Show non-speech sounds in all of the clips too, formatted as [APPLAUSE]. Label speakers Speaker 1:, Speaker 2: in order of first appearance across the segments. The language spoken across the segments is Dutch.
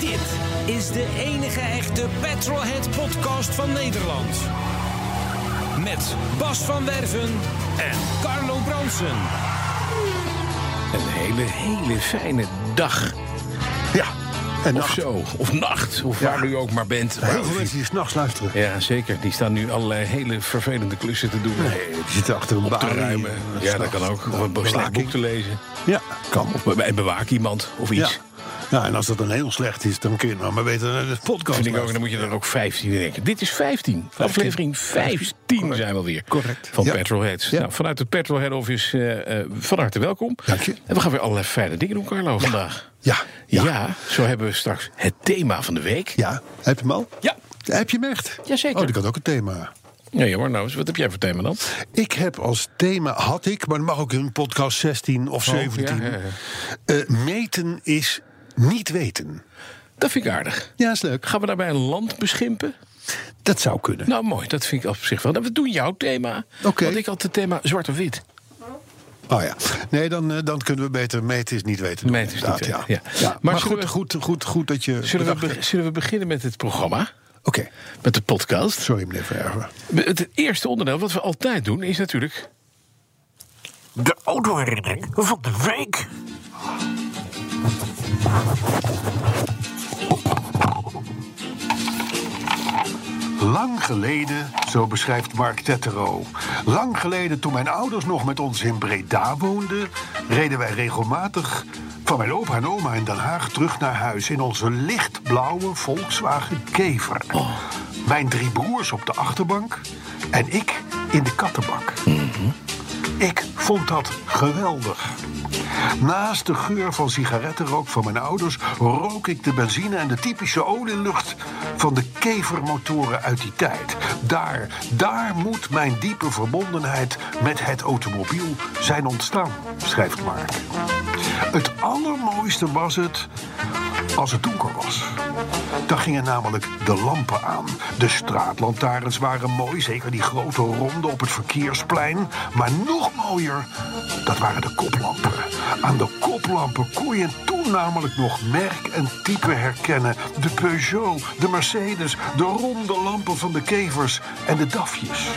Speaker 1: Dit is de enige echte Petrolhead podcast van Nederland. Met Bas van Werven en Carlo Bronsen.
Speaker 2: Een hele, hele fijne dag.
Speaker 3: Ja, en
Speaker 2: Of
Speaker 3: nacht.
Speaker 2: zo. Of nacht. Of
Speaker 3: Ja.
Speaker 2: waar u ook maar bent.
Speaker 3: Heel
Speaker 2: Waar
Speaker 3: veel
Speaker 2: u-
Speaker 3: mensen die s'nachts luisteren.
Speaker 2: Ja, zeker. Die staan nu allerlei hele vervelende klussen te doen.
Speaker 3: Die zitten achter een
Speaker 2: Op te
Speaker 3: balie,
Speaker 2: ruimen.
Speaker 3: eh,
Speaker 2: Ja, dat
Speaker 3: s'nachts.
Speaker 2: kan ook. Of een
Speaker 3: Bewaking.
Speaker 2: slecht boek te lezen.
Speaker 3: Ja, kan.
Speaker 2: Of be- en bewaak iemand. Of
Speaker 3: Ja.
Speaker 2: iets.
Speaker 3: ja, en als dat dan heel slecht is, dan kun je nou maar beter naar de podcast
Speaker 2: Vind ik ook, en
Speaker 3: luisteren.
Speaker 2: dan moet je er ook 15 in denken. Dit is 15. Aflevering 15 zijn we weer.
Speaker 3: Correct.
Speaker 2: Van
Speaker 3: Ja.
Speaker 2: Petrolheads.
Speaker 3: Ja.
Speaker 2: Nou, vanuit het Petrolhead Office eh, eh, van harte welkom.
Speaker 3: Dank je.
Speaker 2: En we gaan weer allerlei fijne dingen doen, Carlo, vandaag.
Speaker 3: Ja,
Speaker 2: Ja.
Speaker 3: ja.
Speaker 2: zo hebben we straks het thema van de week.
Speaker 3: Ja, heb je hem al?
Speaker 2: Ja.
Speaker 3: Heb je hem echt?
Speaker 2: Jazeker.
Speaker 3: Oh, die had ook een thema.
Speaker 2: Nee hoor, nou, wat heb jij voor thema dan?
Speaker 3: Ik heb als thema, had ik, maar dat mag ook in podcast 16 of 17.
Speaker 2: Oh, ja, ja, ja.
Speaker 3: eh, meten is niet weten.
Speaker 2: Dat vind ik aardig.
Speaker 3: Ja, is leuk.
Speaker 2: Gaan we daarbij een land beschimpen?
Speaker 3: Dat zou kunnen.
Speaker 2: Nou, mooi, dat vind ik op zich wel. Nou, we doen jouw thema.
Speaker 3: Oké.
Speaker 2: Want ik had het thema zwart of wit.
Speaker 3: Oh ja. Nee, dan, eh, dan kunnen we beter meten is niet weten. doen,
Speaker 2: Meten is niet
Speaker 3: inderdaad,
Speaker 2: weten,
Speaker 3: Ja.
Speaker 2: ja.
Speaker 3: Ja,
Speaker 2: Maar
Speaker 3: Maar,
Speaker 2: zullen
Speaker 3: goed,
Speaker 2: we-
Speaker 3: goed, goed, goed dat je...
Speaker 2: Zullen we,
Speaker 3: bedacht
Speaker 2: be-
Speaker 3: hebt.
Speaker 2: zullen we beginnen met het programma?
Speaker 3: Oké,
Speaker 2: Met de podcast?
Speaker 3: sorry meneer Vererven.
Speaker 2: Het eerste onderdeel wat we altijd doen is natuurlijk.
Speaker 4: De autoherinnering van de week.
Speaker 3: Lang geleden, zo beschrijft Mark Tettero. Lang geleden, toen mijn ouders nog met ons in Breda woonden, reden wij regelmatig van mijn opa en oma in Den Haag terug naar huis in onze lichtblauwe Volkswagen Kever. Mijn drie broers op de achterbank en ik in de kattenbak. Ik vond dat geweldig. Naast de geur van sigarettenrook van mijn ouders rook ik de benzine en de typische olielucht van de kevermotoren uit die tijd. Daar, daar moet mijn diepe verbondenheid met het automobiel zijn ontstaan, schrijft Mark. Het allermooiste was het als het donker was. Dan gingen namelijk de lampen aan. De straatlantaarns waren mooi, zeker die grote ronde op het verkeersplein. Maar nog mooier, dat waren de koplampen. Aan de koplampen kon je toen namelijk nog merk en type herkennen. De Peugeot, de Mercedes, de ronde lampen van de kevers en de dafjes.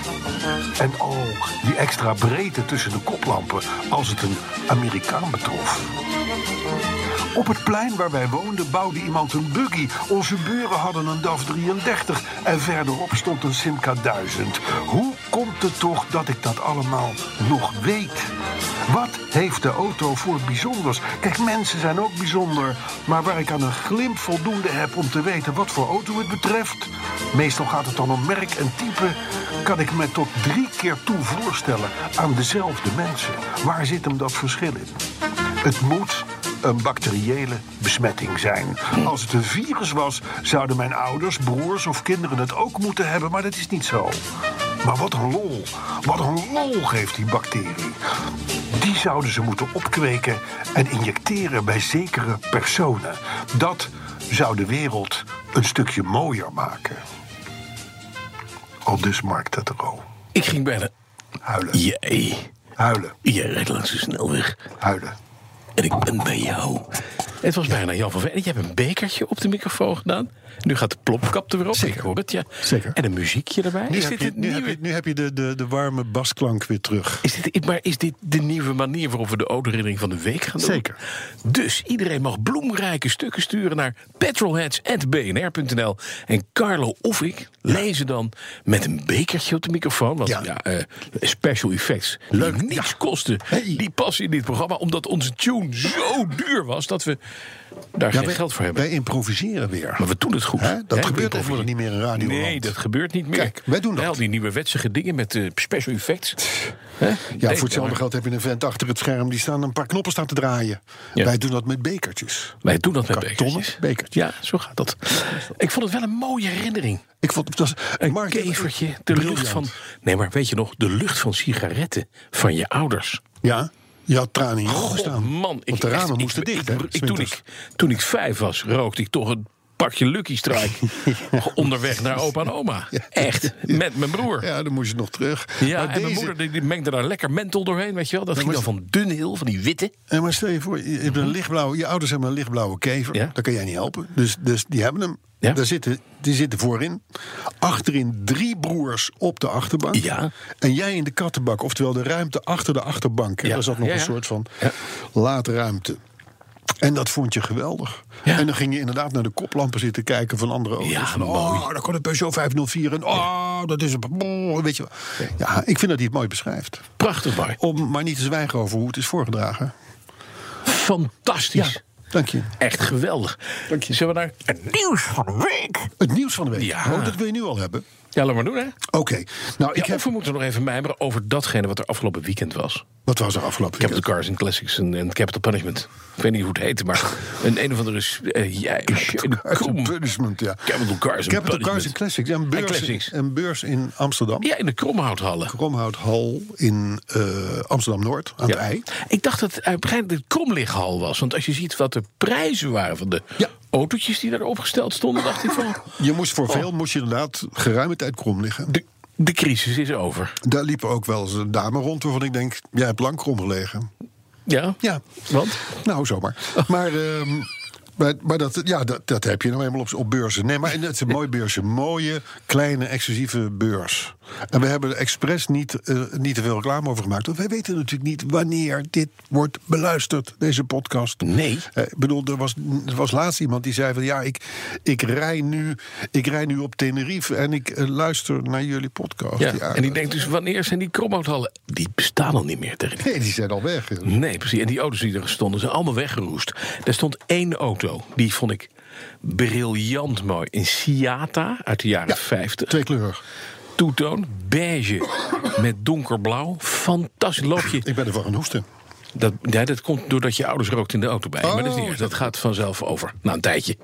Speaker 3: En al die extra breedte tussen de koplampen als het een Amerikaan betrof. Op het plein waar wij woonden bouwde iemand een buggy. Onze buren hadden een DAF 33 en verderop stond een Simca 1000. Hoe komt het toch dat ik dat allemaal nog weet? Wat heeft de auto voor bijzonders? Kijk, mensen zijn ook bijzonder. Maar waar ik aan een glimp voldoende heb om te weten wat voor auto het betreft... meestal gaat het dan om merk en type... kan ik me tot drie keer toe voorstellen aan dezelfde mensen. Waar zit hem dat verschil in? Het moet een bacteriële besmetting zijn. Als het een virus was, zouden mijn ouders, broers of kinderen het ook moeten hebben, maar dat is niet zo. Maar wat een lol. Wat een lol geeft die bacterie. Die zouden ze moeten opkweken en injecteren bij zekere personen. Dat zou de wereld een stukje mooier maken. Al dus Mark Tettero.
Speaker 2: Ik ging bijna.
Speaker 3: Huilen.
Speaker 2: Jij.
Speaker 3: Huilen.
Speaker 2: Jij rijdt langs de snelweg.
Speaker 3: Huilen.
Speaker 2: En ik ben bij jou. Het was bijna Jan van Veen. Je hebt een bekertje op de microfoon gedaan. Nu gaat de plopkap er weer op.
Speaker 3: Zeker.
Speaker 2: Ik hoor het, ja.
Speaker 3: Zeker.
Speaker 2: En een muziekje erbij. is dit het nieuwe?
Speaker 3: de, de, de warme basklank weer terug.
Speaker 2: Is dit, maar is dit de nieuwe manier waarop we de autoherinnering van de week gaan doen?
Speaker 3: Zeker.
Speaker 2: Dus iedereen mag bloemrijke stukken sturen naar petrolheads.bnr.nl. En Carlo of ik lezen dan met een bekertje op de microfoon. Want ja,
Speaker 3: Ja.
Speaker 2: eh, special effects Leuk. die niks kosten,
Speaker 3: Hey.
Speaker 2: die passen in dit programma. Omdat onze tune zo duur was dat we daar geen
Speaker 3: wij-
Speaker 2: geld voor hebben.
Speaker 3: Wij improviseren weer.
Speaker 2: Maar we doen het het goed.
Speaker 5: Hè, dat
Speaker 2: Hè,
Speaker 5: gebeurt
Speaker 2: Wim
Speaker 5: even
Speaker 2: Poffer.
Speaker 5: niet meer in Radioland.
Speaker 2: Nee, dat gebeurt niet meer.
Speaker 5: Kijk, wij doen
Speaker 2: Hè,
Speaker 5: dat.
Speaker 2: Al die nieuwerwetsige dingen met eh, special effects. Hè?
Speaker 5: Ja,
Speaker 2: Denk
Speaker 5: voor hetzelfde
Speaker 2: maar.
Speaker 5: geld heb je een vent achter het scherm die staan een paar knoppen staan te draaien.
Speaker 2: Ja.
Speaker 5: Wij doen dat met bekertjes.
Speaker 2: Wij doen dat met
Speaker 5: Kartonnen
Speaker 2: bekertjes.
Speaker 5: bekertjes.
Speaker 2: Ja, zo gaat dat. Ik vond het wel een mooie herinnering.
Speaker 5: Ik vond het was
Speaker 2: Een
Speaker 5: Mark,
Speaker 2: kevertje, de lucht
Speaker 5: briljant.
Speaker 2: van... Nee, maar weet je nog, de lucht van sigaretten van je ouders.
Speaker 5: Ja, je had tranen in je ogen
Speaker 2: God,
Speaker 5: staan.
Speaker 2: man.
Speaker 5: Want de
Speaker 2: echt-
Speaker 5: ramen moesten
Speaker 2: ik,
Speaker 5: dicht.
Speaker 2: ik-
Speaker 5: hè,
Speaker 2: ik- toen,
Speaker 5: s'winters.
Speaker 2: ik, toen ik vijf was, rookte ik toch een pakje Lucky Strike.
Speaker 5: [LAUGHS]
Speaker 2: onderweg naar opa en oma. Echt, met mijn broer. Ja.
Speaker 5: Ja, dan moest je nog terug.
Speaker 2: en
Speaker 5: Maar
Speaker 2: mijn
Speaker 5: deze-
Speaker 2: moeder die, die mengde daar lekker menthol doorheen, weet je wel. Dat ging dan
Speaker 5: was-
Speaker 2: van dun heel, van die witte.
Speaker 5: Ja, Eh, maar stel je voor, je, hebt een lichtblauwe, je ouders hebben een lichtblauwe kever.
Speaker 2: Mhm. Ja.
Speaker 5: Dat kan jij niet helpen. Dus, dus die hebben hem.
Speaker 2: Ja.
Speaker 5: Daar zitten, die zitten voorin. Achterin drie broers op de achterbank.
Speaker 2: Ja.
Speaker 5: En jij in de kattenbak. Oftewel de ruimte achter de achterbank. En
Speaker 2: Ja.
Speaker 5: daar zat nog
Speaker 2: Ja,
Speaker 5: een
Speaker 2: ja.
Speaker 5: soort van
Speaker 2: Ja.
Speaker 5: laadruimte. En dat vond je geweldig.
Speaker 2: Ja.
Speaker 5: En dan ging je inderdaad naar de koplampen zitten kijken van andere auto's.
Speaker 2: Ja,
Speaker 5: Van,
Speaker 2: mooi.
Speaker 5: Oh, daar kon een Peugeot 504 en oh, dat is een... oh, Weet je wel. Ja, ik vind dat hij het mooi beschrijft.
Speaker 2: Prachtig mooi.
Speaker 5: Om maar niet te zwijgen over hoe het is voorgedragen.
Speaker 2: Fantastisch.
Speaker 5: Dank je.
Speaker 2: Echt geweldig.
Speaker 5: Dank je.
Speaker 2: Zullen we naar...
Speaker 6: Nieuws van de week.
Speaker 5: Het nieuws van de week.
Speaker 2: Ja.
Speaker 5: Oh, dat wil je nu al hebben.
Speaker 2: Ja, laat maar doen, hè.
Speaker 5: Oké. Nou,
Speaker 2: Ja,
Speaker 5: ik heb.
Speaker 2: Of we moeten nog even mijmeren over datgene wat er afgelopen weekend was.
Speaker 5: Wat was er afgelopen
Speaker 2: Capital
Speaker 5: weekend?
Speaker 2: Cars and Classics en, en Capital Punishment. Ik weet niet hoe het heette, maar een, een of andere... s- eh, jij,
Speaker 5: Cars and Punishment, ja.
Speaker 2: Capital Cars and
Speaker 5: Capital
Speaker 2: Punishment.
Speaker 5: Cars and Classics. Ja, een beurs,
Speaker 2: Classics.
Speaker 5: Een beurs in Amsterdam.
Speaker 2: Ja, in de Kromhouthallen.
Speaker 5: Kromhout Hall in eh, Amsterdam Noord aan
Speaker 2: Ja.
Speaker 5: het ei.
Speaker 2: Ik dacht dat het uiteindelijk de Kromlichthal was. Want als je ziet wat de prijzen waren van de
Speaker 5: Ja.
Speaker 2: autootjes die daar opgesteld stonden... dacht ik van,
Speaker 5: Je moest voor veel moest je inderdaad geruime tijd krom liggen.
Speaker 2: Oh. de, de crisis is over.
Speaker 5: Daar liepen ook wel eens een dame rond waarvan ik denk: jij hebt lang krom gelegen.
Speaker 2: Ja?
Speaker 5: Ja.
Speaker 2: Want?
Speaker 5: Nou, zomaar. Maar. ehm, maar, maar dat, ja, dat, dat heb je nou eenmaal op, op beurzen. Nee, maar het is een mooi beursje. Mooie, kleine, exclusieve beurs. En we hebben er expres niet, eh, niet te veel reclame over gemaakt. Want wij weten natuurlijk niet wanneer dit wordt beluisterd, deze podcast.
Speaker 2: Nee.
Speaker 5: Eh, Ik bedoel, er was, er was laatst iemand die zei van... ja, ik, ik, rij, nu, ik rij nu op Tenerife en ik eh, luister naar jullie podcast.
Speaker 2: Ja.
Speaker 5: Ja,
Speaker 2: En ik denk dus, wanneer zijn die Kromhouthallen... Die bestaan al niet meer tegen
Speaker 5: [LAUGHS] Nee, die zijn al weg.
Speaker 2: Nee, precies. En die auto's die er stonden, zijn allemaal weggeroest. Er stond één auto, die vond ik briljant mooi. Een Ciata uit de jaren 50.
Speaker 5: Twee kleurig.
Speaker 2: Toetoon, beige met donkerblauw. Fantastisch. Loop je...
Speaker 5: Ik ben ervan gaan hoesten.
Speaker 2: Dat, ja, dat komt doordat je ouders rookt in de auto bij. maar dat, is niet erg. Oh, dat gaat vanzelf over. Na een tijdje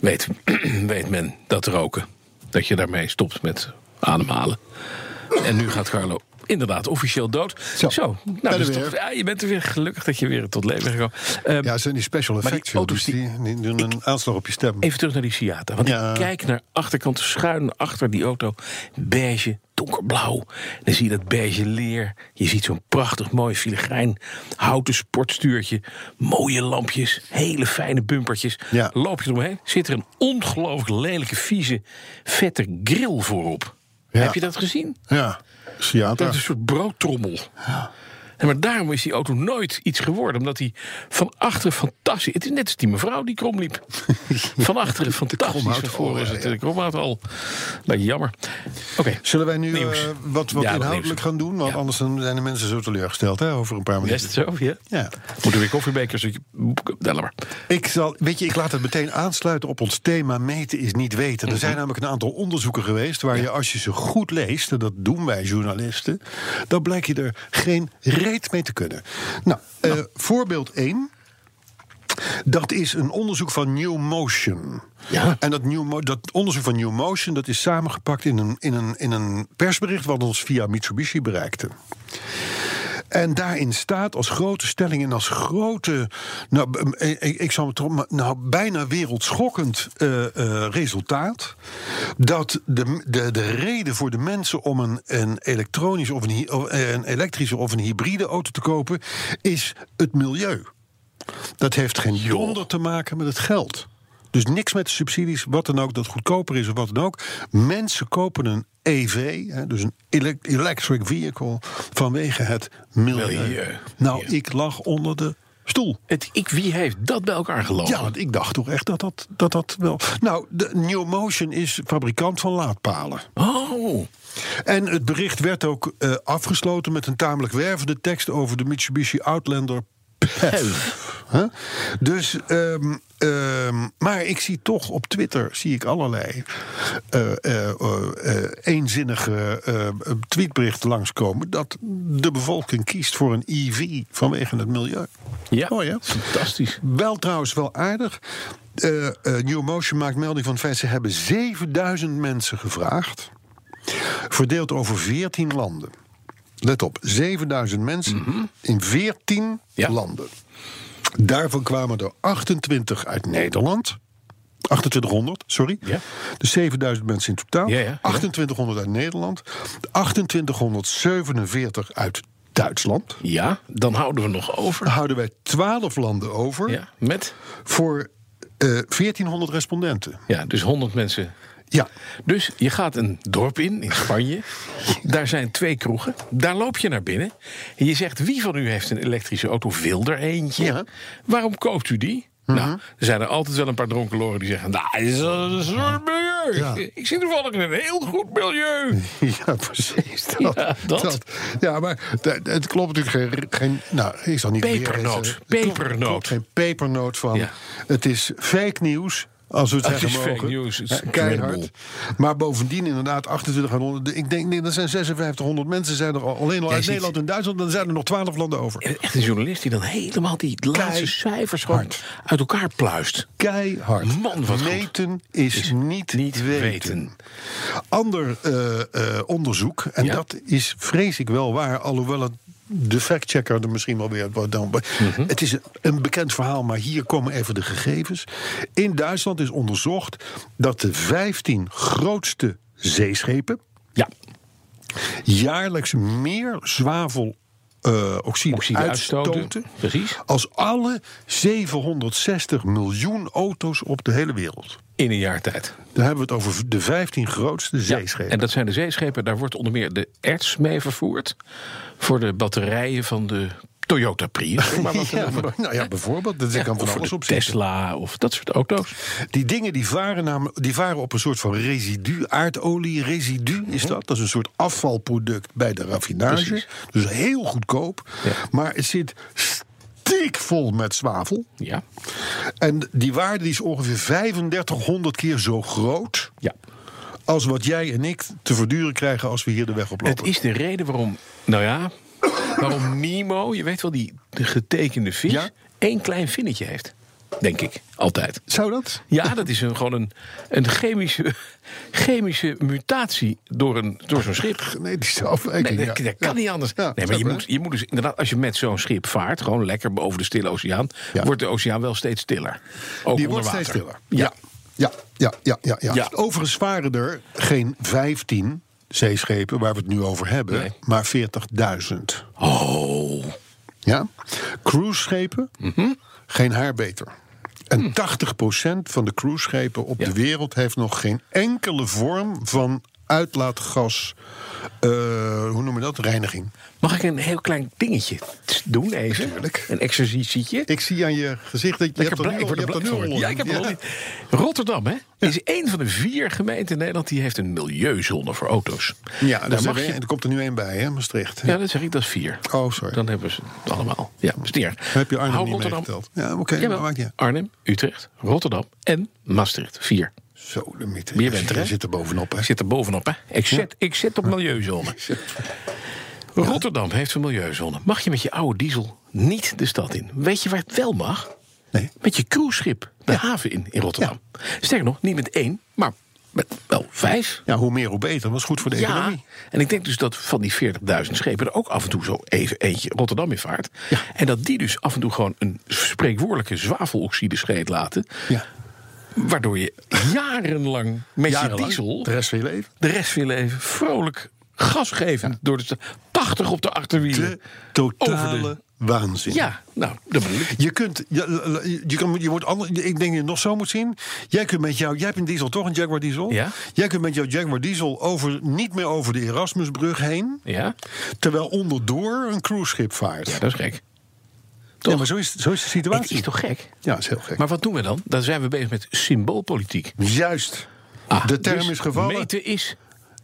Speaker 2: weet, [CLEARS THROAT] weet men dat roken. Dat je daarmee stopt met ademhalen. En nu gaat Carlo inderdaad officieel dood. Zo,
Speaker 5: ben
Speaker 2: nou,
Speaker 5: er
Speaker 2: dus
Speaker 5: weer.
Speaker 2: toch- ja, je bent er weer gelukkig dat je weer tot leven bent gekomen. Ehm,
Speaker 5: Ja, het zijn die special
Speaker 2: die
Speaker 5: effects. joh,
Speaker 2: auto's
Speaker 5: dus die, die doen een aanslag op je stem.
Speaker 2: Even terug naar die Ciata. Want
Speaker 5: Ehm, Ja.
Speaker 2: ik kijk naar achterkant, schuin achter die auto. Beige, donkerblauw. Dan zie je dat beige leer. Je ziet zo'n prachtig mooi filigrijn houten sportstuurtje. Mooie lampjes, hele fijne bumpertjes.
Speaker 5: Ja.
Speaker 2: Loop je eromheen, zit er een ongelooflijk lelijke, vieze, vette grill voorop.
Speaker 5: Ja.
Speaker 2: Heb je dat gezien?
Speaker 5: Ja, Seattle.
Speaker 2: Dat is een soort broodtrommel. En maar daarom is die auto nooit iets geworden. Omdat hij van achteren fantastisch... Het is net als die mevrouw die krom liep.
Speaker 5: [LAUGHS]
Speaker 2: Van achteren fantastisch.
Speaker 5: kromhout
Speaker 2: Van voren
Speaker 5: al,
Speaker 2: is
Speaker 5: ja,
Speaker 2: het
Speaker 5: ja.
Speaker 2: de kromhout al. Beetje jammer. Oké.
Speaker 5: Zullen wij nu eh,
Speaker 2: Nieuws.
Speaker 5: wat, wat
Speaker 2: Ja, wat nieuws.
Speaker 5: inhoudelijk gaan doen? Want
Speaker 2: Ja.
Speaker 5: anders dan zijn de mensen zo teleurgesteld hè, over een paar
Speaker 2: Is
Speaker 5: minuten.
Speaker 2: het zo? Ja.
Speaker 5: Ja.
Speaker 2: Moeten weer koffiebekers? dat je- Ja, laat maar.
Speaker 5: Ik, zal, weet je, ik laat het meteen aansluiten op ons thema meten is niet weten. Er zijn namelijk een aantal onderzoeken geweest waar je als je ze goed leest, en dat doen wij journalisten, dan blijkt je er geen reet mee te kunnen. Nou, eh, voorbeeld 1. Dat is een onderzoek van New Motion.
Speaker 2: Ja.
Speaker 5: En dat, New Mo- dat onderzoek van New Motion dat is samengepakt in een, in, een, in een persbericht wat ons via Mitsubishi bereikte. En daarin staat als grote stelling en als grote, nou, b- m- ik, ik- ik zal het erop, maar nou, bijna wereldschokkend eh, eh, resultaat. Dat de, de, de reden voor de mensen om een, een elektronisch of een, hy- of een elektrische of een hybride auto te kopen, is het milieu. Dat heeft geen donder te maken met het geld. Dus niks met de subsidies, wat dan ook, dat goedkoper is of wat dan ook. Mensen kopen een EV, hè, dus een ele- electric vehicle, vanwege het milieu.
Speaker 2: Milieu,
Speaker 5: Nou,
Speaker 2: ja.
Speaker 5: ik lag onder de stoel.
Speaker 2: Het, ik, wie heeft dat bij elkaar gelopen?
Speaker 5: Ja, want ik dacht toch echt dat dat, dat, dat wel... Nou, de New Motion is fabrikant van laadpalen.
Speaker 2: Oh.
Speaker 5: En het bericht werd ook eh, afgesloten met een tamelijk wervende tekst over de Mitsubishi Outlander PHEV. Hè? Dus, ehm, ehm, maar ik zie toch op Twitter zie ik allerlei eh, eh, eh, eh, eenzinnige eh, tweetberichten langskomen dat de bevolking kiest voor een EV vanwege het milieu.
Speaker 2: Ja,
Speaker 5: Mooi, hè?
Speaker 2: fantastisch.
Speaker 5: Wel trouwens wel aardig. Eh, eh, New Motion maakt melding van het feit... ze hebben 7000 mensen gevraagd. Verdeeld over 14 landen. Let op, 7000 mensen in 14
Speaker 2: Mhm. Ja.
Speaker 5: landen. Daarvan kwamen er 28 uit Nederland... 2800, sorry.
Speaker 2: Ja.
Speaker 5: Dus 7000 mensen in totaal.
Speaker 2: Ja, ja, ja.
Speaker 5: 2800 uit Nederland. 2847 uit Duitsland.
Speaker 2: Ja, dan houden we nog over.
Speaker 5: Dan houden wij 12 landen over
Speaker 2: Ja, met?
Speaker 5: voor eh 1400 respondenten.
Speaker 2: Ja, dus 100 mensen.
Speaker 5: Ja,
Speaker 2: Dus je gaat een dorp in, in [LAUGHS] Spanje. Daar zijn twee kroegen. Daar loop je naar binnen. En je zegt, wie van u heeft een elektrische auto? Wil er eentje?
Speaker 5: Ja.
Speaker 2: Waarom koopt u die? Nou, er zijn er altijd wel een paar dronkenloren die zeggen... Nou, dat is een soort milieu.
Speaker 5: Ja.
Speaker 2: Ik- Ik zit toevallig in een heel goed milieu.
Speaker 5: [LAUGHS] ja precies. Dat,
Speaker 2: [LAUGHS] Ja, dat.
Speaker 5: Ja, maar da- da- het klopt natuurlijk geen... geen nou, ik zal niet weer eens,
Speaker 2: Pepernoot,
Speaker 5: eh, het klopt- het
Speaker 2: pepernoot.
Speaker 5: klopt Geen pepernoot van.
Speaker 2: Ja.
Speaker 5: Het is fake nieuws. Als we het,
Speaker 2: Het
Speaker 5: zeggen
Speaker 2: is
Speaker 5: mogen.
Speaker 2: fake news, het is
Speaker 5: Eh, Keihard.
Speaker 2: incredible.
Speaker 5: Maar bovendien inderdaad 2800... Ik denk, nee, dat zijn 5600 mensen. Zijn er al, alleen al
Speaker 2: Jij
Speaker 5: uit
Speaker 2: ziet-
Speaker 5: Nederland en Duitsland. Dan zijn er nog 12 landen over.
Speaker 2: En echt een journalist die dan helemaal die laatste cijfers gewoon
Speaker 5: Hard.
Speaker 2: uit elkaar pluist.
Speaker 5: Keihard.
Speaker 2: Man, wat goed.
Speaker 5: Meten is, niet,
Speaker 2: Niet weten.
Speaker 5: ander eh, eh, onderzoek. En
Speaker 2: Ja.
Speaker 5: dat is, vrees ik wel waar, alhoewel het de factchecker er misschien wel weer wat dan.
Speaker 2: Mhm.
Speaker 5: Het is een- een bekend verhaal, maar hier komen even de gegevens. In Duitsland is onderzocht dat de 15 grootste zeeschepen
Speaker 2: Ja,
Speaker 5: jaarlijks meer zwavel. eh, oxide,
Speaker 2: Oxide
Speaker 5: uitstoten,
Speaker 2: uitstoten, precies.
Speaker 5: als alle 760 miljoen auto's op de hele wereld.
Speaker 2: in een jaar tijd.
Speaker 5: Dan hebben we het over de 15 grootste zeeschepen.
Speaker 2: En dat zijn de zeeschepen. Daar wordt onder meer de erts mee vervoerd. Voor de batterijen van de Toyota Prius. om Maar wat te
Speaker 5: [LAUGHS] Ja,
Speaker 2: noemen.
Speaker 5: maar- nou ja, bijvoorbeeld. Dat kan
Speaker 2: of
Speaker 5: van
Speaker 2: voor
Speaker 5: alles
Speaker 2: de
Speaker 5: op zitten.
Speaker 2: Tesla of dat soort auto's.
Speaker 5: Die dingen die varen, namelijk, die varen op een soort van residu, aardolie. Residu is dat. Dat is een soort afvalproduct bij de raffinage.
Speaker 2: Mhm. Precies.
Speaker 5: Dus heel goedkoop.
Speaker 2: Ja.
Speaker 5: Maar het zit stiekvol met zwavel.
Speaker 2: Ja.
Speaker 5: En die waarde die is ongeveer 3500 keer zo groot...
Speaker 2: ja.
Speaker 5: als wat jij en ik te verduren krijgen als we hier de weg op
Speaker 2: Het
Speaker 5: lopen.
Speaker 2: is de reden waarom. Nou ja. Waarom Nemo, je weet wel, die de getekende vis.
Speaker 5: Ja.
Speaker 2: één klein vinnetje heeft. Denk ik. Altijd.
Speaker 5: Zou dat?
Speaker 2: Ja, dat is een, gewoon een, een chemische, chemische mutatie door, een, door zo'n schip.
Speaker 5: Genetische afwijking.
Speaker 2: Nee,
Speaker 5: ja.
Speaker 2: dat, dat kan
Speaker 5: Ja.
Speaker 2: niet anders.
Speaker 5: Ja,
Speaker 2: nee, maar
Speaker 5: zou
Speaker 2: je
Speaker 5: kunnen.
Speaker 2: moet, je moet dus inderdaad, als je met zo'n schip vaart, gewoon lekker boven de stille oceaan,
Speaker 5: Ja.
Speaker 2: wordt de oceaan wel steeds stiller. Ook
Speaker 5: Die
Speaker 2: onder
Speaker 5: wordt
Speaker 2: water.
Speaker 5: steeds stiller.
Speaker 2: Ja.
Speaker 5: Ja, ja, ja, ja, ja.
Speaker 2: Ja.
Speaker 5: Overigens waren er geen 15 zeeschepen waar we het nu over hebben,
Speaker 2: Nee.
Speaker 5: maar 40.000.
Speaker 2: Oh.
Speaker 5: Ja? Cruiseschepen,
Speaker 2: Mhm.
Speaker 5: geen haar beter. En 80% van de cruiseschepen op
Speaker 2: Hmm. Ja.
Speaker 5: de wereld heeft nog geen enkele vorm van uitlaatgas. eh, hoe noem je dat? Reiniging.
Speaker 2: Mag ik een heel klein dingetje doen even?
Speaker 5: Tuurlijk.
Speaker 2: Een exercitietje.
Speaker 5: Ik zie aan je gezicht dat je
Speaker 2: Lekker
Speaker 5: hebt er
Speaker 2: blij,
Speaker 5: nu
Speaker 2: ik
Speaker 5: al-
Speaker 2: word er blij
Speaker 5: je hebt er nu
Speaker 2: van.
Speaker 5: al-
Speaker 2: Ja, ik heb er al
Speaker 5: Ja.
Speaker 2: niet. Rotterdam, hè, is één van de vier gemeenten in Nederland die heeft een milieuzone voor auto's.
Speaker 5: Ja, daar
Speaker 2: daar mag
Speaker 5: zijn we-
Speaker 2: je
Speaker 5: en er komt er nu één bij, hè, Maastricht.
Speaker 2: Ja, dat zeg ik, dat is vier.
Speaker 5: Oh, sorry.
Speaker 2: Dan hebben ze het allemaal. Ja, dat is niet erg.
Speaker 5: Heb je Arnhem
Speaker 2: Hou
Speaker 5: niet
Speaker 2: Rotterdam.
Speaker 5: meegeteld? Ja, oké,
Speaker 2: Jawel.
Speaker 5: maar maakt niet uit.
Speaker 2: Arnhem, Utrecht, Rotterdam en Maastricht. Vier.
Speaker 5: Zo, de mythe.
Speaker 2: Meer bent er, hè?
Speaker 5: zit er bovenop, hè?
Speaker 2: Ik zit er bovenop, hè? Ik zit, ik zit op
Speaker 5: [LAUGHS]
Speaker 2: milieuzone. Rotterdam heeft een milieuzone. Mag je met je oude diesel niet de stad in? Weet je waar het wel mag?
Speaker 5: Nee.
Speaker 2: Met je cruiseschip de haven in, in Rotterdam. Sterker nog, niet met één, maar met wel vijf.
Speaker 5: Ja, hoe meer, hoe beter. Dat is goed voor de
Speaker 2: Ja,
Speaker 5: economie.
Speaker 2: en ik denk dus dat van die 40.000 schepen er ook af en toe zo even eentje Rotterdam in vaart. En dat die dus af en toe gewoon een spreekwoordelijke zwaveloxide scheet laten.
Speaker 5: Ja.
Speaker 2: Waardoor je jarenlang met je
Speaker 5: Jarenlang,
Speaker 2: diesel
Speaker 5: De rest van je leven.
Speaker 2: de rest willen even vrolijk gasgevend door de sta- 80 op de achterwielen.
Speaker 5: De
Speaker 2: Over
Speaker 5: totale
Speaker 2: de-
Speaker 5: waanzin.
Speaker 2: Ja, nou, dat bedoel ik.
Speaker 5: Je kunt, ja, l- l- je, kan, je wordt ander, ik denk dat je het nog zo moet zien. Jij kunt met jou, jij hebt een diesel toch, een Jaguar diesel?
Speaker 2: Ja.
Speaker 5: Jij kunt met jouw Jaguar diesel over, niet meer over de Erasmusbrug heen,
Speaker 2: Ja,
Speaker 5: terwijl onderdoor een cruiseschip vaart.
Speaker 2: ja dat is gek.
Speaker 5: Ja, maar zo is, zo is de
Speaker 2: Het
Speaker 5: situatie.
Speaker 2: is toch gek?
Speaker 5: Ja, dat is heel gek.
Speaker 2: Maar wat doen we dan? Dan zijn we bezig met symboolpolitiek.
Speaker 5: Juist.
Speaker 2: Ah,
Speaker 5: de term
Speaker 2: dus
Speaker 5: is gevallen.
Speaker 2: Meten is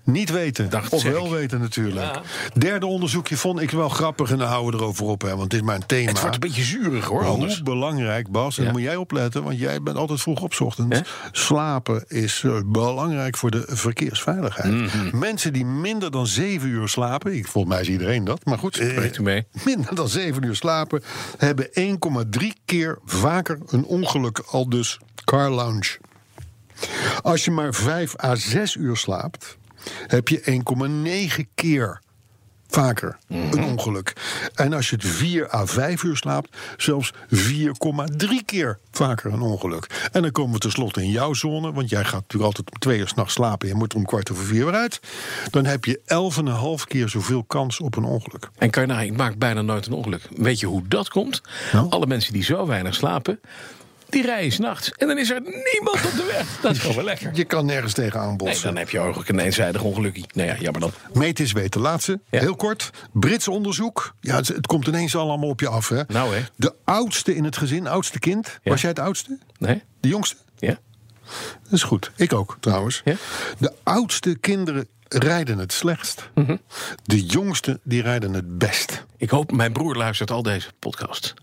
Speaker 5: Niet weten.
Speaker 2: Dacht
Speaker 5: of
Speaker 2: zeg
Speaker 5: wel
Speaker 2: ik.
Speaker 5: weten natuurlijk. Derde onderzoekje vond ik wel grappig. En daar houden we erover op, hè, want dit is maar Oh, een thema.
Speaker 2: Het wordt een beetje zuurig hoor, anders.
Speaker 5: Hoe belangrijk, Bas, en
Speaker 2: Ja.
Speaker 5: dan moet jij opletten, want jij bent altijd vroeg op 's ochtends. Slapen is eh, belangrijk voor de verkeersveiligheid.
Speaker 2: Mhm.
Speaker 5: Mensen die minder dan zeven uur slapen, ik, volgens mij is iedereen dat, maar goed. eh,
Speaker 2: Spreekt u mee.
Speaker 5: [LAUGHS] Minder dan zeven uur slapen hebben 1,3 keer vaker een ongeluk, al dus car lounge. Als je maar 5 à 6 uur slaapt, heb je 1,9 keer vaker
Speaker 2: Mhm.
Speaker 5: een ongeluk. En als je het 4 à 5 uur slaapt, zelfs 4,3 keer vaker een ongeluk. En dan komen we tenslotte in jouw zone, want jij gaat natuurlijk altijd om twee uur s'nachts slapen. Je moet er om kwart over vier weer uit. Dan heb je 11,5 keer zoveel kans op een ongeluk.
Speaker 2: En kan je nou, ik maak bijna nooit een ongeluk. Weet je hoe dat komt?
Speaker 5: Nou?
Speaker 2: Alle mensen die zo weinig slapen, die rijden s'nachts. En dan is er niemand op de weg. Dat is gewoon wel
Speaker 5: [LAUGHS]
Speaker 2: lekker.
Speaker 5: Je kan nergens tegenaan
Speaker 2: Nee,
Speaker 5: botsen.
Speaker 2: dan heb je ook een eenzijdig ongelukkie. Nou ja, jammer dan.
Speaker 5: Meet is weten. Laatste,
Speaker 2: Ja.
Speaker 5: heel kort. Brits onderzoek. Ja, het, het komt ineens allemaal op je af. Hè?
Speaker 2: Nou, hè.
Speaker 5: De oudste in het gezin, oudste kind.
Speaker 2: Ja.
Speaker 5: Was jij het oudste?
Speaker 2: Nee?
Speaker 5: De jongste?
Speaker 2: Ja?
Speaker 5: Dat is goed. Ik ook, trouwens.
Speaker 2: Ja.
Speaker 5: De oudste kinderen rijden het slechtst.
Speaker 2: Mhm.
Speaker 5: De jongste, die rijden het best.
Speaker 2: Ik hoop, mijn broer luistert al deze podcast.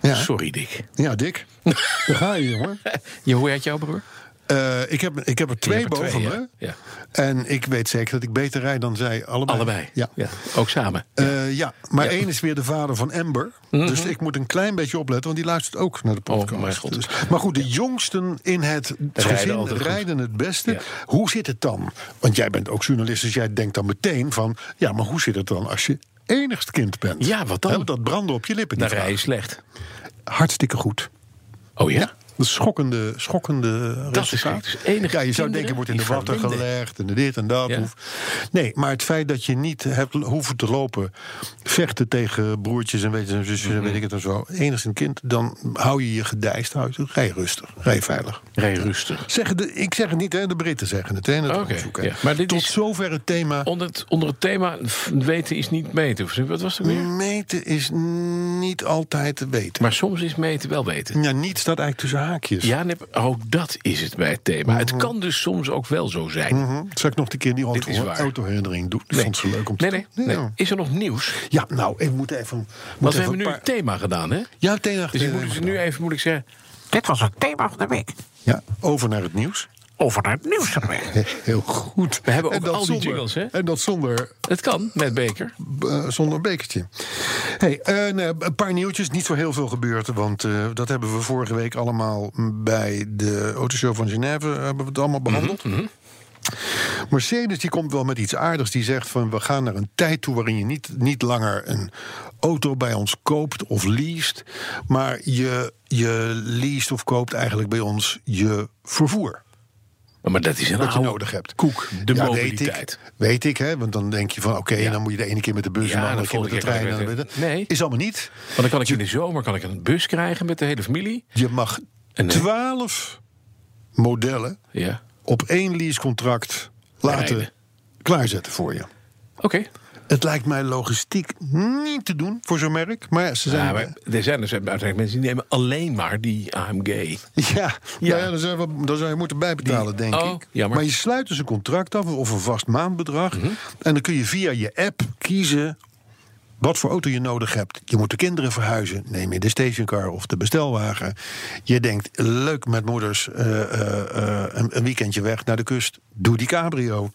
Speaker 5: Ja,
Speaker 2: Sorry, Dick. [LAUGHS]
Speaker 5: ja Dick. Daar ga je, jongen.
Speaker 2: Je, hoe heet jouw broer?
Speaker 5: Eh, ik, heb, ik heb er twee
Speaker 2: hebt er
Speaker 5: boven
Speaker 2: twee,
Speaker 5: me.
Speaker 2: ja. Ja.
Speaker 5: En ik weet zeker dat ik beter rijd dan zij allebei.
Speaker 2: Allebei.
Speaker 5: Ja.
Speaker 2: Ook samen.
Speaker 5: Eh, ja, maar
Speaker 2: Ja. Mhm.
Speaker 5: één is weer de vader van Amber. Dus ik moet een klein beetje opletten, want die luistert ook naar de podcast.
Speaker 2: Oh, mijn god.
Speaker 5: Dus- maar goed, de jongsten in het gezin
Speaker 2: altijd goed.
Speaker 5: rijden het beste.
Speaker 2: Ja.
Speaker 5: Hoe zit het dan? Want jij bent ook journalist, dus jij denkt dan meteen van... ja, maar hoe zit het dan als je enigst kind bent?
Speaker 2: Ja, wat dan?
Speaker 5: Hè, want dat branden op je lippen. die
Speaker 2: Dan rij je
Speaker 5: vraag.
Speaker 2: slecht.
Speaker 5: Hartstikke goed.
Speaker 2: Oh ja?
Speaker 5: Ja, dat is schokkende, schokkende
Speaker 2: Dat is
Speaker 5: resultaat.
Speaker 2: gek. Dus enige
Speaker 5: ja, je zou
Speaker 2: kinderen
Speaker 5: denken, wordt in de
Speaker 2: die
Speaker 5: watten
Speaker 2: verbinden.
Speaker 5: gelegd en dit en dat.
Speaker 2: Ja.
Speaker 5: Hoef- Nee, maar het feit dat je niet hebt hoeven te lopen, vechten tegen broertjes en weet, en zusjes en
Speaker 2: Mhm.
Speaker 5: weet ik het en zo, enigszins kind, dan hou je je gedijst uit. Rij rustig, rij veilig.
Speaker 2: Rij je rustig.
Speaker 5: Zeggen de, ik zeg het niet, hè, de Britten zeggen het. Hè, in het
Speaker 2: Oké,
Speaker 5: onderzoek, hè.
Speaker 2: ja. Maar dit
Speaker 5: Tot
Speaker 2: is- Oh.
Speaker 5: zover het thema.
Speaker 2: Onder het, onder het thema f- weten is niet meten. of zo. Wat was het
Speaker 5: Mm.
Speaker 2: weer?
Speaker 5: Meten is niet altijd te weten.
Speaker 2: Maar soms is meten wel weten.
Speaker 5: ja, niet staat eigenlijk tussen haakjes.
Speaker 2: Ja, nee, oh, dat is het bij het thema. Het kan dus soms ook wel zo zijn.
Speaker 5: Mhm. Zal ik nog een keer die
Speaker 2: Dit is
Speaker 5: auto-
Speaker 2: waar.
Speaker 5: autoherinnering doen? Ik vond ze leuk om te
Speaker 2: nee, nee,
Speaker 5: doen.
Speaker 2: nee.
Speaker 5: ja.
Speaker 2: Is er nog nieuws?
Speaker 5: Ja, nou, ik moet even. Moet
Speaker 2: Want we
Speaker 5: even
Speaker 2: hebben nu
Speaker 5: een
Speaker 2: het thema gedaan, hè?
Speaker 5: Ja, het thema
Speaker 2: Dus ik moet dus
Speaker 5: gedaan.
Speaker 2: nu even moet ik zeggen...
Speaker 6: Dit was het thema van de week.
Speaker 5: Ja, over naar het nieuws.
Speaker 6: Over naar het nieuws van de week.
Speaker 5: Heel goed.
Speaker 2: We hebben
Speaker 5: En
Speaker 2: ook
Speaker 5: dat
Speaker 2: al die
Speaker 5: zonder-
Speaker 2: jingles, hè?
Speaker 5: En dat zonder,
Speaker 2: Het kan, met Beker.
Speaker 5: eh, zonder bekertje. Hey, eh, nee, een paar nieuwtjes. Niet zo heel veel gebeurd. Want eh, dat hebben we vorige week allemaal bij de Autoshow van Genève eh, hebben we het allemaal behandeld. Mercedes die komt wel met iets aardigs. Die zegt van we gaan naar een tijd toe waarin je niet, niet langer een auto bij ons koopt of leest. Maar je, je leest of koopt eigenlijk bij ons je vervoer.
Speaker 2: Maar dat is een
Speaker 5: Wat je
Speaker 2: oude
Speaker 5: nodig hebt.
Speaker 2: Nou, Koek, de
Speaker 5: Ja,
Speaker 2: mobiliteit.
Speaker 5: Weet ik, weet ik hè, want dan denk je van oké,
Speaker 2: Ja.
Speaker 5: dan moet je de ene keer met de bus
Speaker 2: Ja,
Speaker 5: en de
Speaker 2: de
Speaker 5: andere keer met de
Speaker 2: volgende keer kan
Speaker 5: trein.
Speaker 2: je
Speaker 5: en
Speaker 2: met
Speaker 5: dan-
Speaker 2: de- Nee.
Speaker 5: Is allemaal niet.
Speaker 2: Want dan kan ik in de zomer kan ik een bus krijgen met de hele familie.
Speaker 5: Je mag
Speaker 2: En nee.
Speaker 5: 12 modellen
Speaker 2: Ja.
Speaker 5: op één leasecontract laten
Speaker 2: Rijden.
Speaker 5: klaarzetten voor je.
Speaker 2: Oké.
Speaker 5: Het lijkt mij logistiek niet te doen voor zo'n merk, maar ze zijn. eh,
Speaker 2: Ja, maar er zijn dus uiteindelijk mensen die nemen alleen maar die AMG.
Speaker 5: [LAUGHS] Ja, Nou
Speaker 2: Ja.
Speaker 5: ja. dan, zou je, wel- dan zou je moeten bijbetalen, denk
Speaker 2: oh,
Speaker 5: ik.
Speaker 2: jammer. Mhm.
Speaker 5: Maar je sluit dus een contract af of een vast maandbedrag. En dan kun je via je app kiezen wat voor auto je nodig hebt. Je moet de kinderen verhuizen. Neem je de stationcar of de bestelwagen. Je denkt, leuk met moeders eh, eh, eh, een, een weekendje weg naar de kust. Doe die cabrio.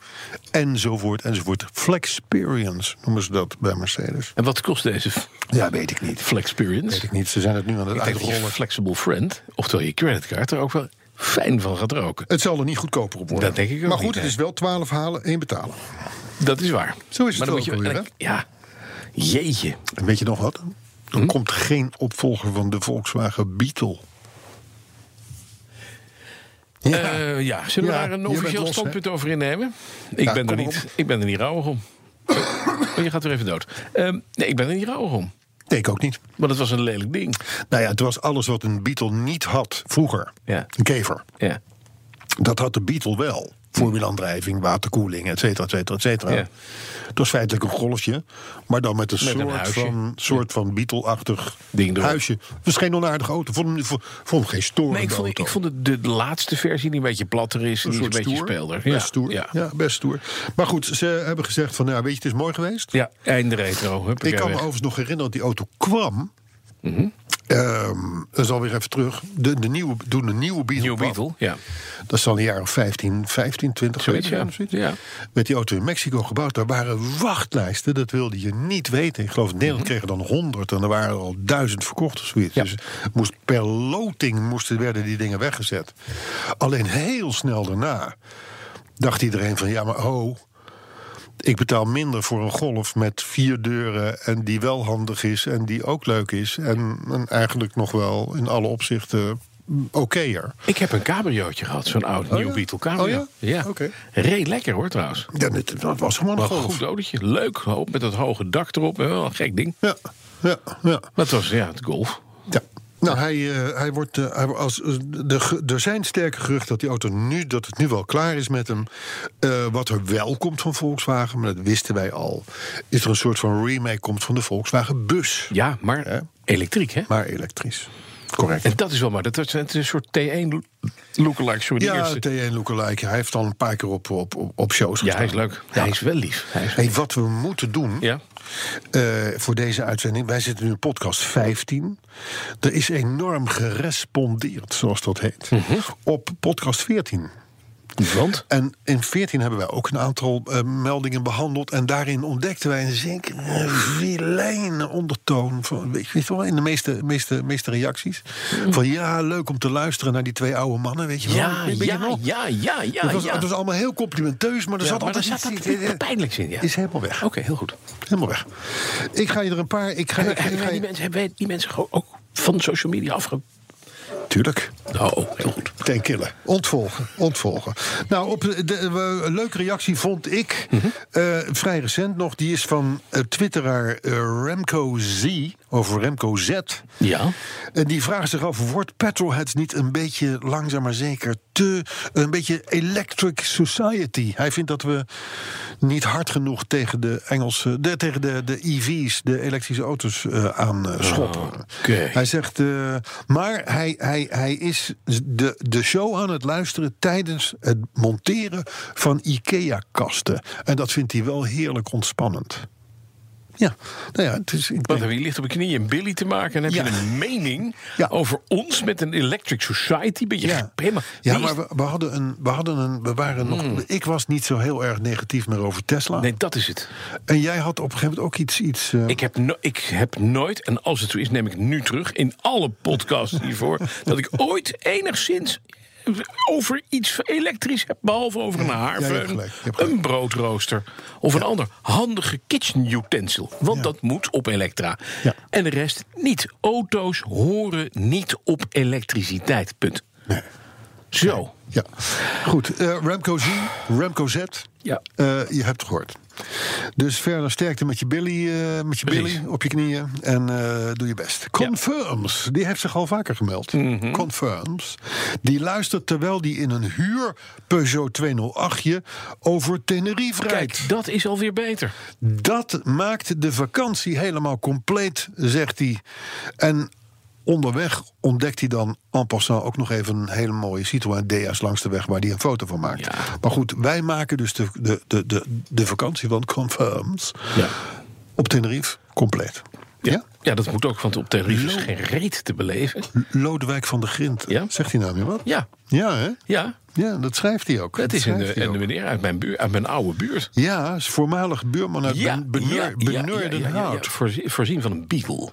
Speaker 5: Enzovoort, enzovoort. Flexperience noemen ze dat bij Mercedes.
Speaker 2: En wat kost deze
Speaker 5: Ja, weet ik niet. Weet
Speaker 2: Flexperience?
Speaker 5: ik niet, ze zijn het nu aan het
Speaker 2: Ik denk dat je
Speaker 5: uitrollen.
Speaker 2: Flexible Friend, oftewel je creditcard, er ook wel fijn van gaat roken.
Speaker 5: Het zal er niet goedkoper op worden.
Speaker 2: Dat denk ik ook
Speaker 5: Maar goed,
Speaker 2: niet,
Speaker 5: het
Speaker 2: nee.
Speaker 5: is wel 12 halen, één betalen.
Speaker 2: Dat is waar.
Speaker 5: Zo is het
Speaker 2: dan
Speaker 5: ook
Speaker 2: moet
Speaker 5: alweer,
Speaker 2: en ik- Ja. Jeetje.
Speaker 5: En weet je nog wat? Er komt geen opvolger van de Volkswagen Beetle. Ja,
Speaker 2: Eh, ja. Zullen we
Speaker 5: Ja,
Speaker 2: daar een
Speaker 5: je bent
Speaker 2: officieel
Speaker 5: los,
Speaker 2: standpunt over innemen? Ik,
Speaker 5: Ja,
Speaker 2: ben er
Speaker 5: kom
Speaker 2: niet,
Speaker 5: op.
Speaker 2: ik ben er niet rouwig om. Oh, je gaat weer even dood. Ehm, nee, ik ben er niet rouwig om.
Speaker 5: nee, ik ook niet.
Speaker 2: Want het was een lelijk ding.
Speaker 5: Nou ja, het was alles wat een Beetle niet had vroeger.
Speaker 2: Ja.
Speaker 5: Een kever.
Speaker 2: Ja.
Speaker 5: Dat had de Beetle wel. Voorwielaandrijving, waterkoeling, et cetera, et cetera, et cetera.
Speaker 2: Ja.
Speaker 5: Het was feitelijk een golfje, maar dan met een
Speaker 2: Met een
Speaker 5: soort
Speaker 2: huisje.
Speaker 5: van, soort van Beatle-achtig
Speaker 2: Ding erop.
Speaker 5: huisje. Het was geen onaardige auto. Vond hem, vond, vond hem geen storende
Speaker 2: Nee, ik vond,
Speaker 5: auto.
Speaker 2: ik vond het de, de laatste versie die een beetje platter is. En die is een beetje speelder.
Speaker 5: Best stoer. Ja.
Speaker 2: Ja,
Speaker 5: best stoer. Maar goed, ze hebben gezegd van, nou, weet je, het is mooi geweest.
Speaker 2: ja einde retro. huppakee,
Speaker 5: Ik kan me
Speaker 2: weg.
Speaker 5: overigens nog herinneren dat die auto kwam.
Speaker 2: Mhm.
Speaker 5: Ehm, dat is alweer even terug. De, de nieuwe, toen de nieuwe Beetle
Speaker 2: New
Speaker 5: kwam,
Speaker 2: Beetle. Ja.
Speaker 5: Dat is al een jaar of 15, 15 20
Speaker 2: Zoiets,
Speaker 5: geleden,
Speaker 2: ja. Ja.
Speaker 5: Werd die auto in Mexico gebouwd. Daar waren wachtlijsten. Dat wilde je niet weten. Ik geloof in Nederland kregen dan 100 en er waren er al 1000 verkocht of zoiets.
Speaker 2: Mhm. Ja.
Speaker 5: Dus moest per loting moesten, werden die dingen weggezet. Alleen heel snel daarna dacht iedereen van ja, maar oh. Ik betaal minder voor een golf met vier deuren en die wel handig is en die ook leuk is. En, en eigenlijk nog wel in alle opzichten okéer.
Speaker 2: Ik heb een cabriootje gehad, zo'n oud New
Speaker 5: ja?
Speaker 2: Beetle cabrio.
Speaker 5: Oh ja?
Speaker 2: ja.
Speaker 5: Oké.
Speaker 2: Reed lekker hoor trouwens.
Speaker 5: Ja, dat, dat was gewoon een
Speaker 2: Wat een
Speaker 5: golf.
Speaker 2: goed autootje. Leuk, ook met dat hoge dak erop. Wel een gek ding.
Speaker 5: Ja, ja, ja.
Speaker 2: Maar het was ja, het golf.
Speaker 5: ja. Nou, hij, eh, hij wordt. eh, hij, wordt als, eh, de, ge- er zijn sterke geruchten dat die auto nu. dat het nu wel klaar is met hem. Eh, wat er wel komt van Volkswagen, maar dat wisten wij al. is er een soort van remake komt van de Volkswagen Bus.
Speaker 2: Ja, maar
Speaker 5: Ja.
Speaker 2: elektriek hè.
Speaker 5: Maar elektrisch. Correct.
Speaker 2: En dat is wel maar. Dat is, het is een soort T1 lookalike. Sorry, die
Speaker 5: ja,
Speaker 2: eerste.
Speaker 5: T1 Lookalike. Hij heeft al een paar keer op, op, op, op shows
Speaker 2: ja,
Speaker 5: gestaan.
Speaker 2: hij is leuk. Hij is wel lief. Hij is-
Speaker 5: Hey, wat we moeten doen.
Speaker 2: Ja.
Speaker 5: eh, voor deze uitzending. Wij zitten nu in podcast 15. Er is enorm gerespondeerd, zoals dat heet,
Speaker 2: Mhm.
Speaker 5: op podcast 14.
Speaker 2: Want?
Speaker 5: En in 14 hebben wij ook een aantal eh, meldingen behandeld. En daarin ontdekten wij een zekere vilijne ondertoon. Van, weet je weet je wel, in de meeste, meeste, meeste reacties. Van ja, leuk om te luisteren naar die twee oude mannen. Weet je wel?
Speaker 2: Ja,
Speaker 5: Weet je
Speaker 2: ja,
Speaker 5: nog?
Speaker 2: ja, ja, ja.
Speaker 5: Het was,
Speaker 2: ja.
Speaker 5: het was allemaal heel complimenteus, maar er
Speaker 2: Ja,
Speaker 5: zat
Speaker 2: maar
Speaker 5: altijd
Speaker 2: er zat
Speaker 5: iets-
Speaker 2: dat iets pijnlijks in, ja.
Speaker 5: Is helemaal weg.
Speaker 2: Oké, heel goed.
Speaker 5: Helemaal weg. Ik ga je er een paar. Ik ga, ik,
Speaker 2: Hebben
Speaker 5: ik
Speaker 2: wij
Speaker 5: ga
Speaker 2: die
Speaker 5: je,
Speaker 2: mensen, hebben wij die mensen gewoon ook van social media afge...
Speaker 5: tuurlijk.
Speaker 2: Oh, heel goed.
Speaker 5: Ten kille. Ontvolgen. Ontvolgen. Nou, op de, de- we- een leuke reactie vond ik. eh, vrij recent nog. Die is van eh, Twitteraar eh, Remco Z. Of Remco Z.
Speaker 2: Ja.
Speaker 5: En Eh, die vraagt zich af: wordt Petrolheads niet een beetje langzaam maar zeker te. een beetje electric society? Hij vindt dat we niet hard genoeg tegen de Engelse. De, tegen de, de EV's, de elektrische auto's eh, aan eh, schoppen.
Speaker 2: Oké.
Speaker 5: Hij zegt. eh, maar hij, hij, hij is de, de show aan het luisteren tijdens het monteren van IKEA-kasten. En dat vindt hij wel heerlijk ontspannend. Ja, nou ja, het is. Ik
Speaker 2: Wat
Speaker 5: denk-
Speaker 2: heb je ligt op je knieën een Billy te maken en heb
Speaker 5: Ja.
Speaker 2: je een mening
Speaker 5: Ja.
Speaker 2: over ons met een Electric Society? Ben je
Speaker 5: Ja,
Speaker 2: helemaal.
Speaker 5: ja
Speaker 2: Wie is- Hmm.
Speaker 5: maar we, we hadden een. We, hadden een, we waren nog. Ik was niet zo heel erg negatief meer over Tesla.
Speaker 2: Nee, dat is het.
Speaker 5: En jij had op een gegeven moment ook iets. iets eh,
Speaker 2: Ik heb, no- ik heb nooit, en als het zo is, neem ik nu terug in alle podcasts
Speaker 5: [LAUGHS]
Speaker 2: hiervoor, dat ik ooit enigszins over iets elektrisch heb, behalve over een haarveun,
Speaker 5: gelijk, je hebt gelijk.
Speaker 2: een broodrooster of een ander handige kitchen utensil. Want
Speaker 5: Ja.
Speaker 2: dat moet op elektra.
Speaker 5: Ja.
Speaker 2: En de rest niet. Auto's horen niet op elektriciteit. Punt. Zo.
Speaker 5: Ja, goed. eh, Remco Z. Remco Z.
Speaker 2: Ja.
Speaker 5: Eh, je hebt het gehoord. Dus verder sterkte met je Billy, eh, met je
Speaker 2: Precies.
Speaker 5: Billy op je knieën. En eh, doe je best. Confirms. Die heeft zich al vaker gemeld.
Speaker 2: Mhm.
Speaker 5: Confirms. Die luistert terwijl die in een huur Peugeot 208je over Tenerife rijdt.
Speaker 2: Kijk, dat is alweer beter.
Speaker 5: Dat maakt de vakantie helemaal compleet, zegt hij. En onderweg ontdekt hij dan en passant ook nog even een hele mooie Citroën Dea's langs de weg waar hij een foto van maakt.
Speaker 2: Ja.
Speaker 5: Maar goed, wij maken dus de, de, de, de, de vakantie van Confirms
Speaker 2: Ja.
Speaker 5: op Tenerife compleet. Ja.
Speaker 2: Ja, dat moet ook, want op Tenerife is geen reet te beleven.
Speaker 5: Lodewijk van de Grint,
Speaker 2: Ja.
Speaker 5: zegt hij nou weer wat?
Speaker 2: Ja,
Speaker 5: Ja, hè?
Speaker 2: ja.
Speaker 5: Ja, dat schrijft hij ook.
Speaker 2: Dat is een,
Speaker 5: schrijft
Speaker 2: eh,
Speaker 5: hij
Speaker 2: een
Speaker 5: ook.
Speaker 2: meneer uit mijn, buur, uit mijn oude buurt.
Speaker 5: Ja, is voormalig buurman uit ja, Benurdenhout.
Speaker 2: voorzien, voorzien van een beagle.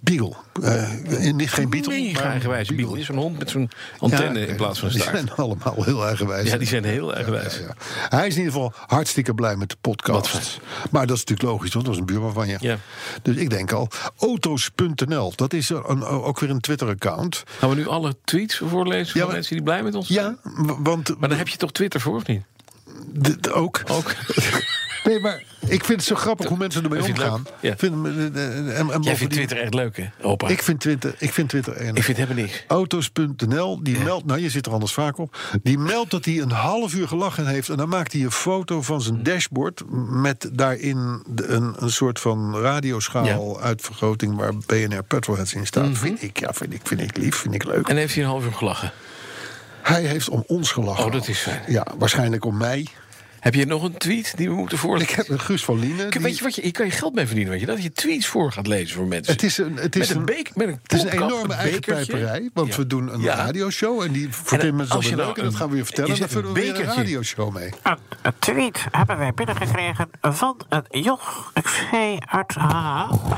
Speaker 5: Beagle. Eh, niet geen Beatle,
Speaker 2: Mega
Speaker 5: maar
Speaker 2: eigenwijze beagle. Is een hond met zo'n antenne in plaats van een
Speaker 5: die
Speaker 2: staart.
Speaker 5: zijn allemaal heel eigenwijs.
Speaker 2: Ja, die zijn heel eigenwijs.
Speaker 5: Ja. Hij is in ieder geval hartstikke blij met de
Speaker 2: Wat
Speaker 5: podcast. Maar dat is natuurlijk logisch, want dat is een buurman van je.
Speaker 2: Ja.
Speaker 5: Dus ik denk al, auto's.nl, dat is er een, ook weer een Twitter-account.
Speaker 2: Gaan we nu alle tweets voorlezen van
Speaker 5: Ja, maar-
Speaker 2: mensen die blij met ons zijn?
Speaker 5: Ja, w- want
Speaker 2: Maar daar heb je toch Twitter voor, of niet?
Speaker 5: d- d- ook.
Speaker 2: Ook.
Speaker 5: Nee, maar ik vind het zo grappig hoe mensen ermee
Speaker 2: Vind je het
Speaker 5: omgaan.
Speaker 2: leuk? Ja.
Speaker 5: Ik Vind, hem, eh, eh, en, en
Speaker 2: Jij
Speaker 5: bovendien-
Speaker 2: vindt Twitter echt leuk, hè, opa?
Speaker 5: Ik vind Twitter, ik vind Twitter enig.
Speaker 2: Ik vind helemaal niks.
Speaker 5: Auto's.nl, die meldt, nou je zit er anders vaak op, die meldt dat hij een half uur gelachen heeft. En dan maakt hij een foto van
Speaker 2: Mm.
Speaker 5: zijn dashboard met daarin de- een, een soort van radioschaal uitvergroting waar BNR Petrolheads in staat. Vind ik, ja, vind ik, vind ik lief, vind ik leuk.
Speaker 2: Mhm. En heeft hij een half uur gelachen.
Speaker 5: Hij heeft om ons gelachen.
Speaker 2: Oh, dat is fijn.
Speaker 5: Ja, waarschijnlijk om mij.
Speaker 2: Heb je nog een tweet die we moeten voorlezen?
Speaker 5: Ik heb een Guus van Liene.
Speaker 2: Kijk,
Speaker 5: die-
Speaker 2: Weet je wat je, hier kan je geld mee verdienen, weet je? Dat je tweets voor gaat lezen voor mensen.
Speaker 5: Het is een, het is
Speaker 2: met een, beek, met een
Speaker 5: het is een
Speaker 2: plopkap,
Speaker 5: enorme
Speaker 2: een
Speaker 5: eigen
Speaker 2: bekertje.
Speaker 5: pijperij. Want
Speaker 2: Ja.
Speaker 5: we doen een
Speaker 2: Ja.
Speaker 5: radioshow. En die vertellen mensen
Speaker 2: als je
Speaker 5: dat we
Speaker 2: nou
Speaker 5: leuk. En dat
Speaker 2: een-
Speaker 5: gaan we weer
Speaker 2: je
Speaker 5: vertellen. En
Speaker 2: zet
Speaker 5: daar vullen we
Speaker 2: een
Speaker 5: weer een
Speaker 2: bekertje.
Speaker 5: radioshow mee.
Speaker 6: Een, een tweet hebben wij binnengekregen van een Joch V. uit H.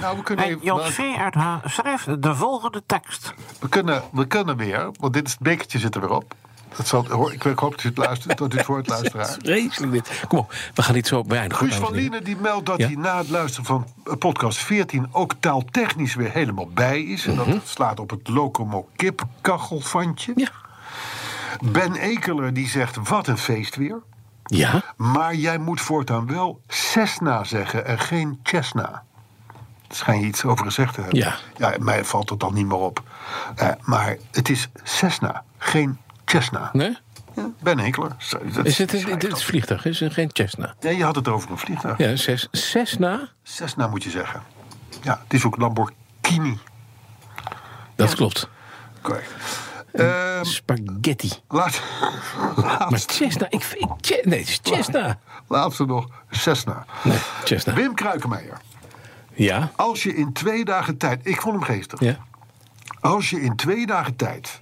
Speaker 5: Nou, we kunnen
Speaker 6: En
Speaker 5: even-
Speaker 6: Joch V. uit H. schrijft de volgende tekst.
Speaker 3: We kunnen, we kunnen weer, want dit is, het bekertje zit er weer op. Dat zal, hoor, ik, ik hoop dat u het luistert, dat u
Speaker 2: [LAUGHS]
Speaker 3: het hoort, luisteraar.
Speaker 2: Vreselijk dit. Kom op, we gaan niet zo beëindigen.
Speaker 3: Guus van Liene die meldt dat
Speaker 2: Ja.
Speaker 3: hij na het luisteren van eh, podcast 14 ook taaltechnisch weer helemaal bij is. En dat slaat op het Locomo-kipkachelfantje.
Speaker 2: Mhm. Ja.
Speaker 3: Ben Ekeler die zegt: Wat een feest weer.
Speaker 2: Ja,
Speaker 3: Maar jij moet voortaan wel Cessna zeggen en geen Chesna. Daar schijn je iets over gezegd te hebben.
Speaker 2: Ja.
Speaker 3: mij valt het dan niet meer op. Eh, maar het is Cessna, geen Chesna.
Speaker 2: nee?
Speaker 3: Ja, Ben Ekeler. Zo, dat
Speaker 2: Is het, een,
Speaker 3: schrijft
Speaker 2: dit is
Speaker 3: dat.
Speaker 2: vliegtuig, is er geen Cessna.
Speaker 3: Nee, je had het over een vliegtuig.
Speaker 2: Ja, zes, zes na.
Speaker 3: Cessna moet je zeggen. Ja, het is ook Lamborghini.
Speaker 2: Dat klopt.
Speaker 3: Correct. Ehm,
Speaker 2: Spaghetti.
Speaker 3: laat, [LAUGHS]
Speaker 2: Maar
Speaker 3: laatste,
Speaker 2: Cessna, ik, ik, che- nee, het is Cessna.
Speaker 3: laatste nog, Cessna.
Speaker 2: Nee, Cessna.
Speaker 3: Wim Kruikenmeijer.
Speaker 2: Ja,
Speaker 3: Als je in twee dagen tijd... Ik vond hem geestig.
Speaker 2: ja, Mhm.
Speaker 3: Als je in twee dagen tijd...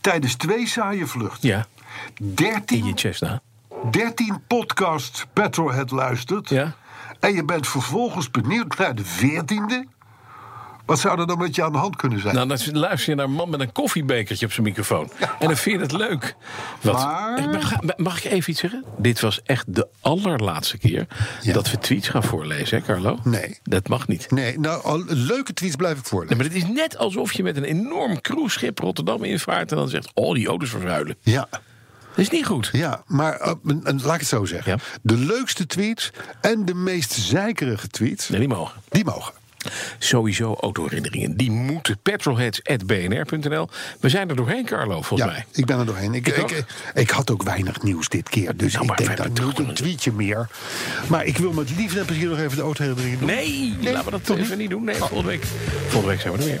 Speaker 3: tijdens twee saaie vluchten...
Speaker 2: ja. In je
Speaker 3: 13,
Speaker 2: Cessna.
Speaker 3: 13 podcasts Petrolhead luistert...
Speaker 2: Ja.
Speaker 3: en je bent vervolgens benieuwd naar de veertiende... wat zou er dan met je aan de hand kunnen zijn?
Speaker 2: Nou, dan luister je naar een man met een koffiebekertje op zijn microfoon. En dan vind je het leuk. Wat,
Speaker 3: Maar-
Speaker 2: Ik ben- ga- Mag ik even iets zeggen? Dit was echt de allerlaatste keer dat we tweets gaan voorlezen, hè Carlo?
Speaker 5: Nee.
Speaker 2: Dat mag niet.
Speaker 5: Nee, nou, al, leuke tweets blijf ik
Speaker 2: Nee,
Speaker 5: voorlezen.
Speaker 2: maar het is net alsof je met een enorm cruiseschip Rotterdam invaart... en dan zegt, oh, die auto's vervuilen.
Speaker 5: Ja,
Speaker 2: Dat is niet goed.
Speaker 5: ja, maar eh, en- en laat ik het zo zeggen.
Speaker 2: Ja.
Speaker 5: De leukste tweets en de meest zeikerige tweets,
Speaker 2: Nee, niet mogen.
Speaker 5: die mogen.
Speaker 2: Sowieso autoherinneringen. Die moeten. Petrolheads.bnr.nl. We zijn er doorheen, Carlo, volgens
Speaker 5: Ja,
Speaker 2: mij.
Speaker 5: ik ben er doorheen. Ik,
Speaker 2: Ik
Speaker 5: ik,
Speaker 2: ook.
Speaker 5: ik had ook weinig nieuws dit keer. Dus
Speaker 2: Nou,
Speaker 5: ik
Speaker 2: maar
Speaker 5: denk,
Speaker 2: we
Speaker 5: dat
Speaker 2: hebben
Speaker 5: doe ik
Speaker 2: toch
Speaker 5: een tweetje meer. Maar ik wil met liefde en plezier nog even de autoherinnering doen.
Speaker 2: Nee, laten we dat
Speaker 5: toch
Speaker 2: even niet doen. Nee, volgende week. Volgende week zijn we er weer.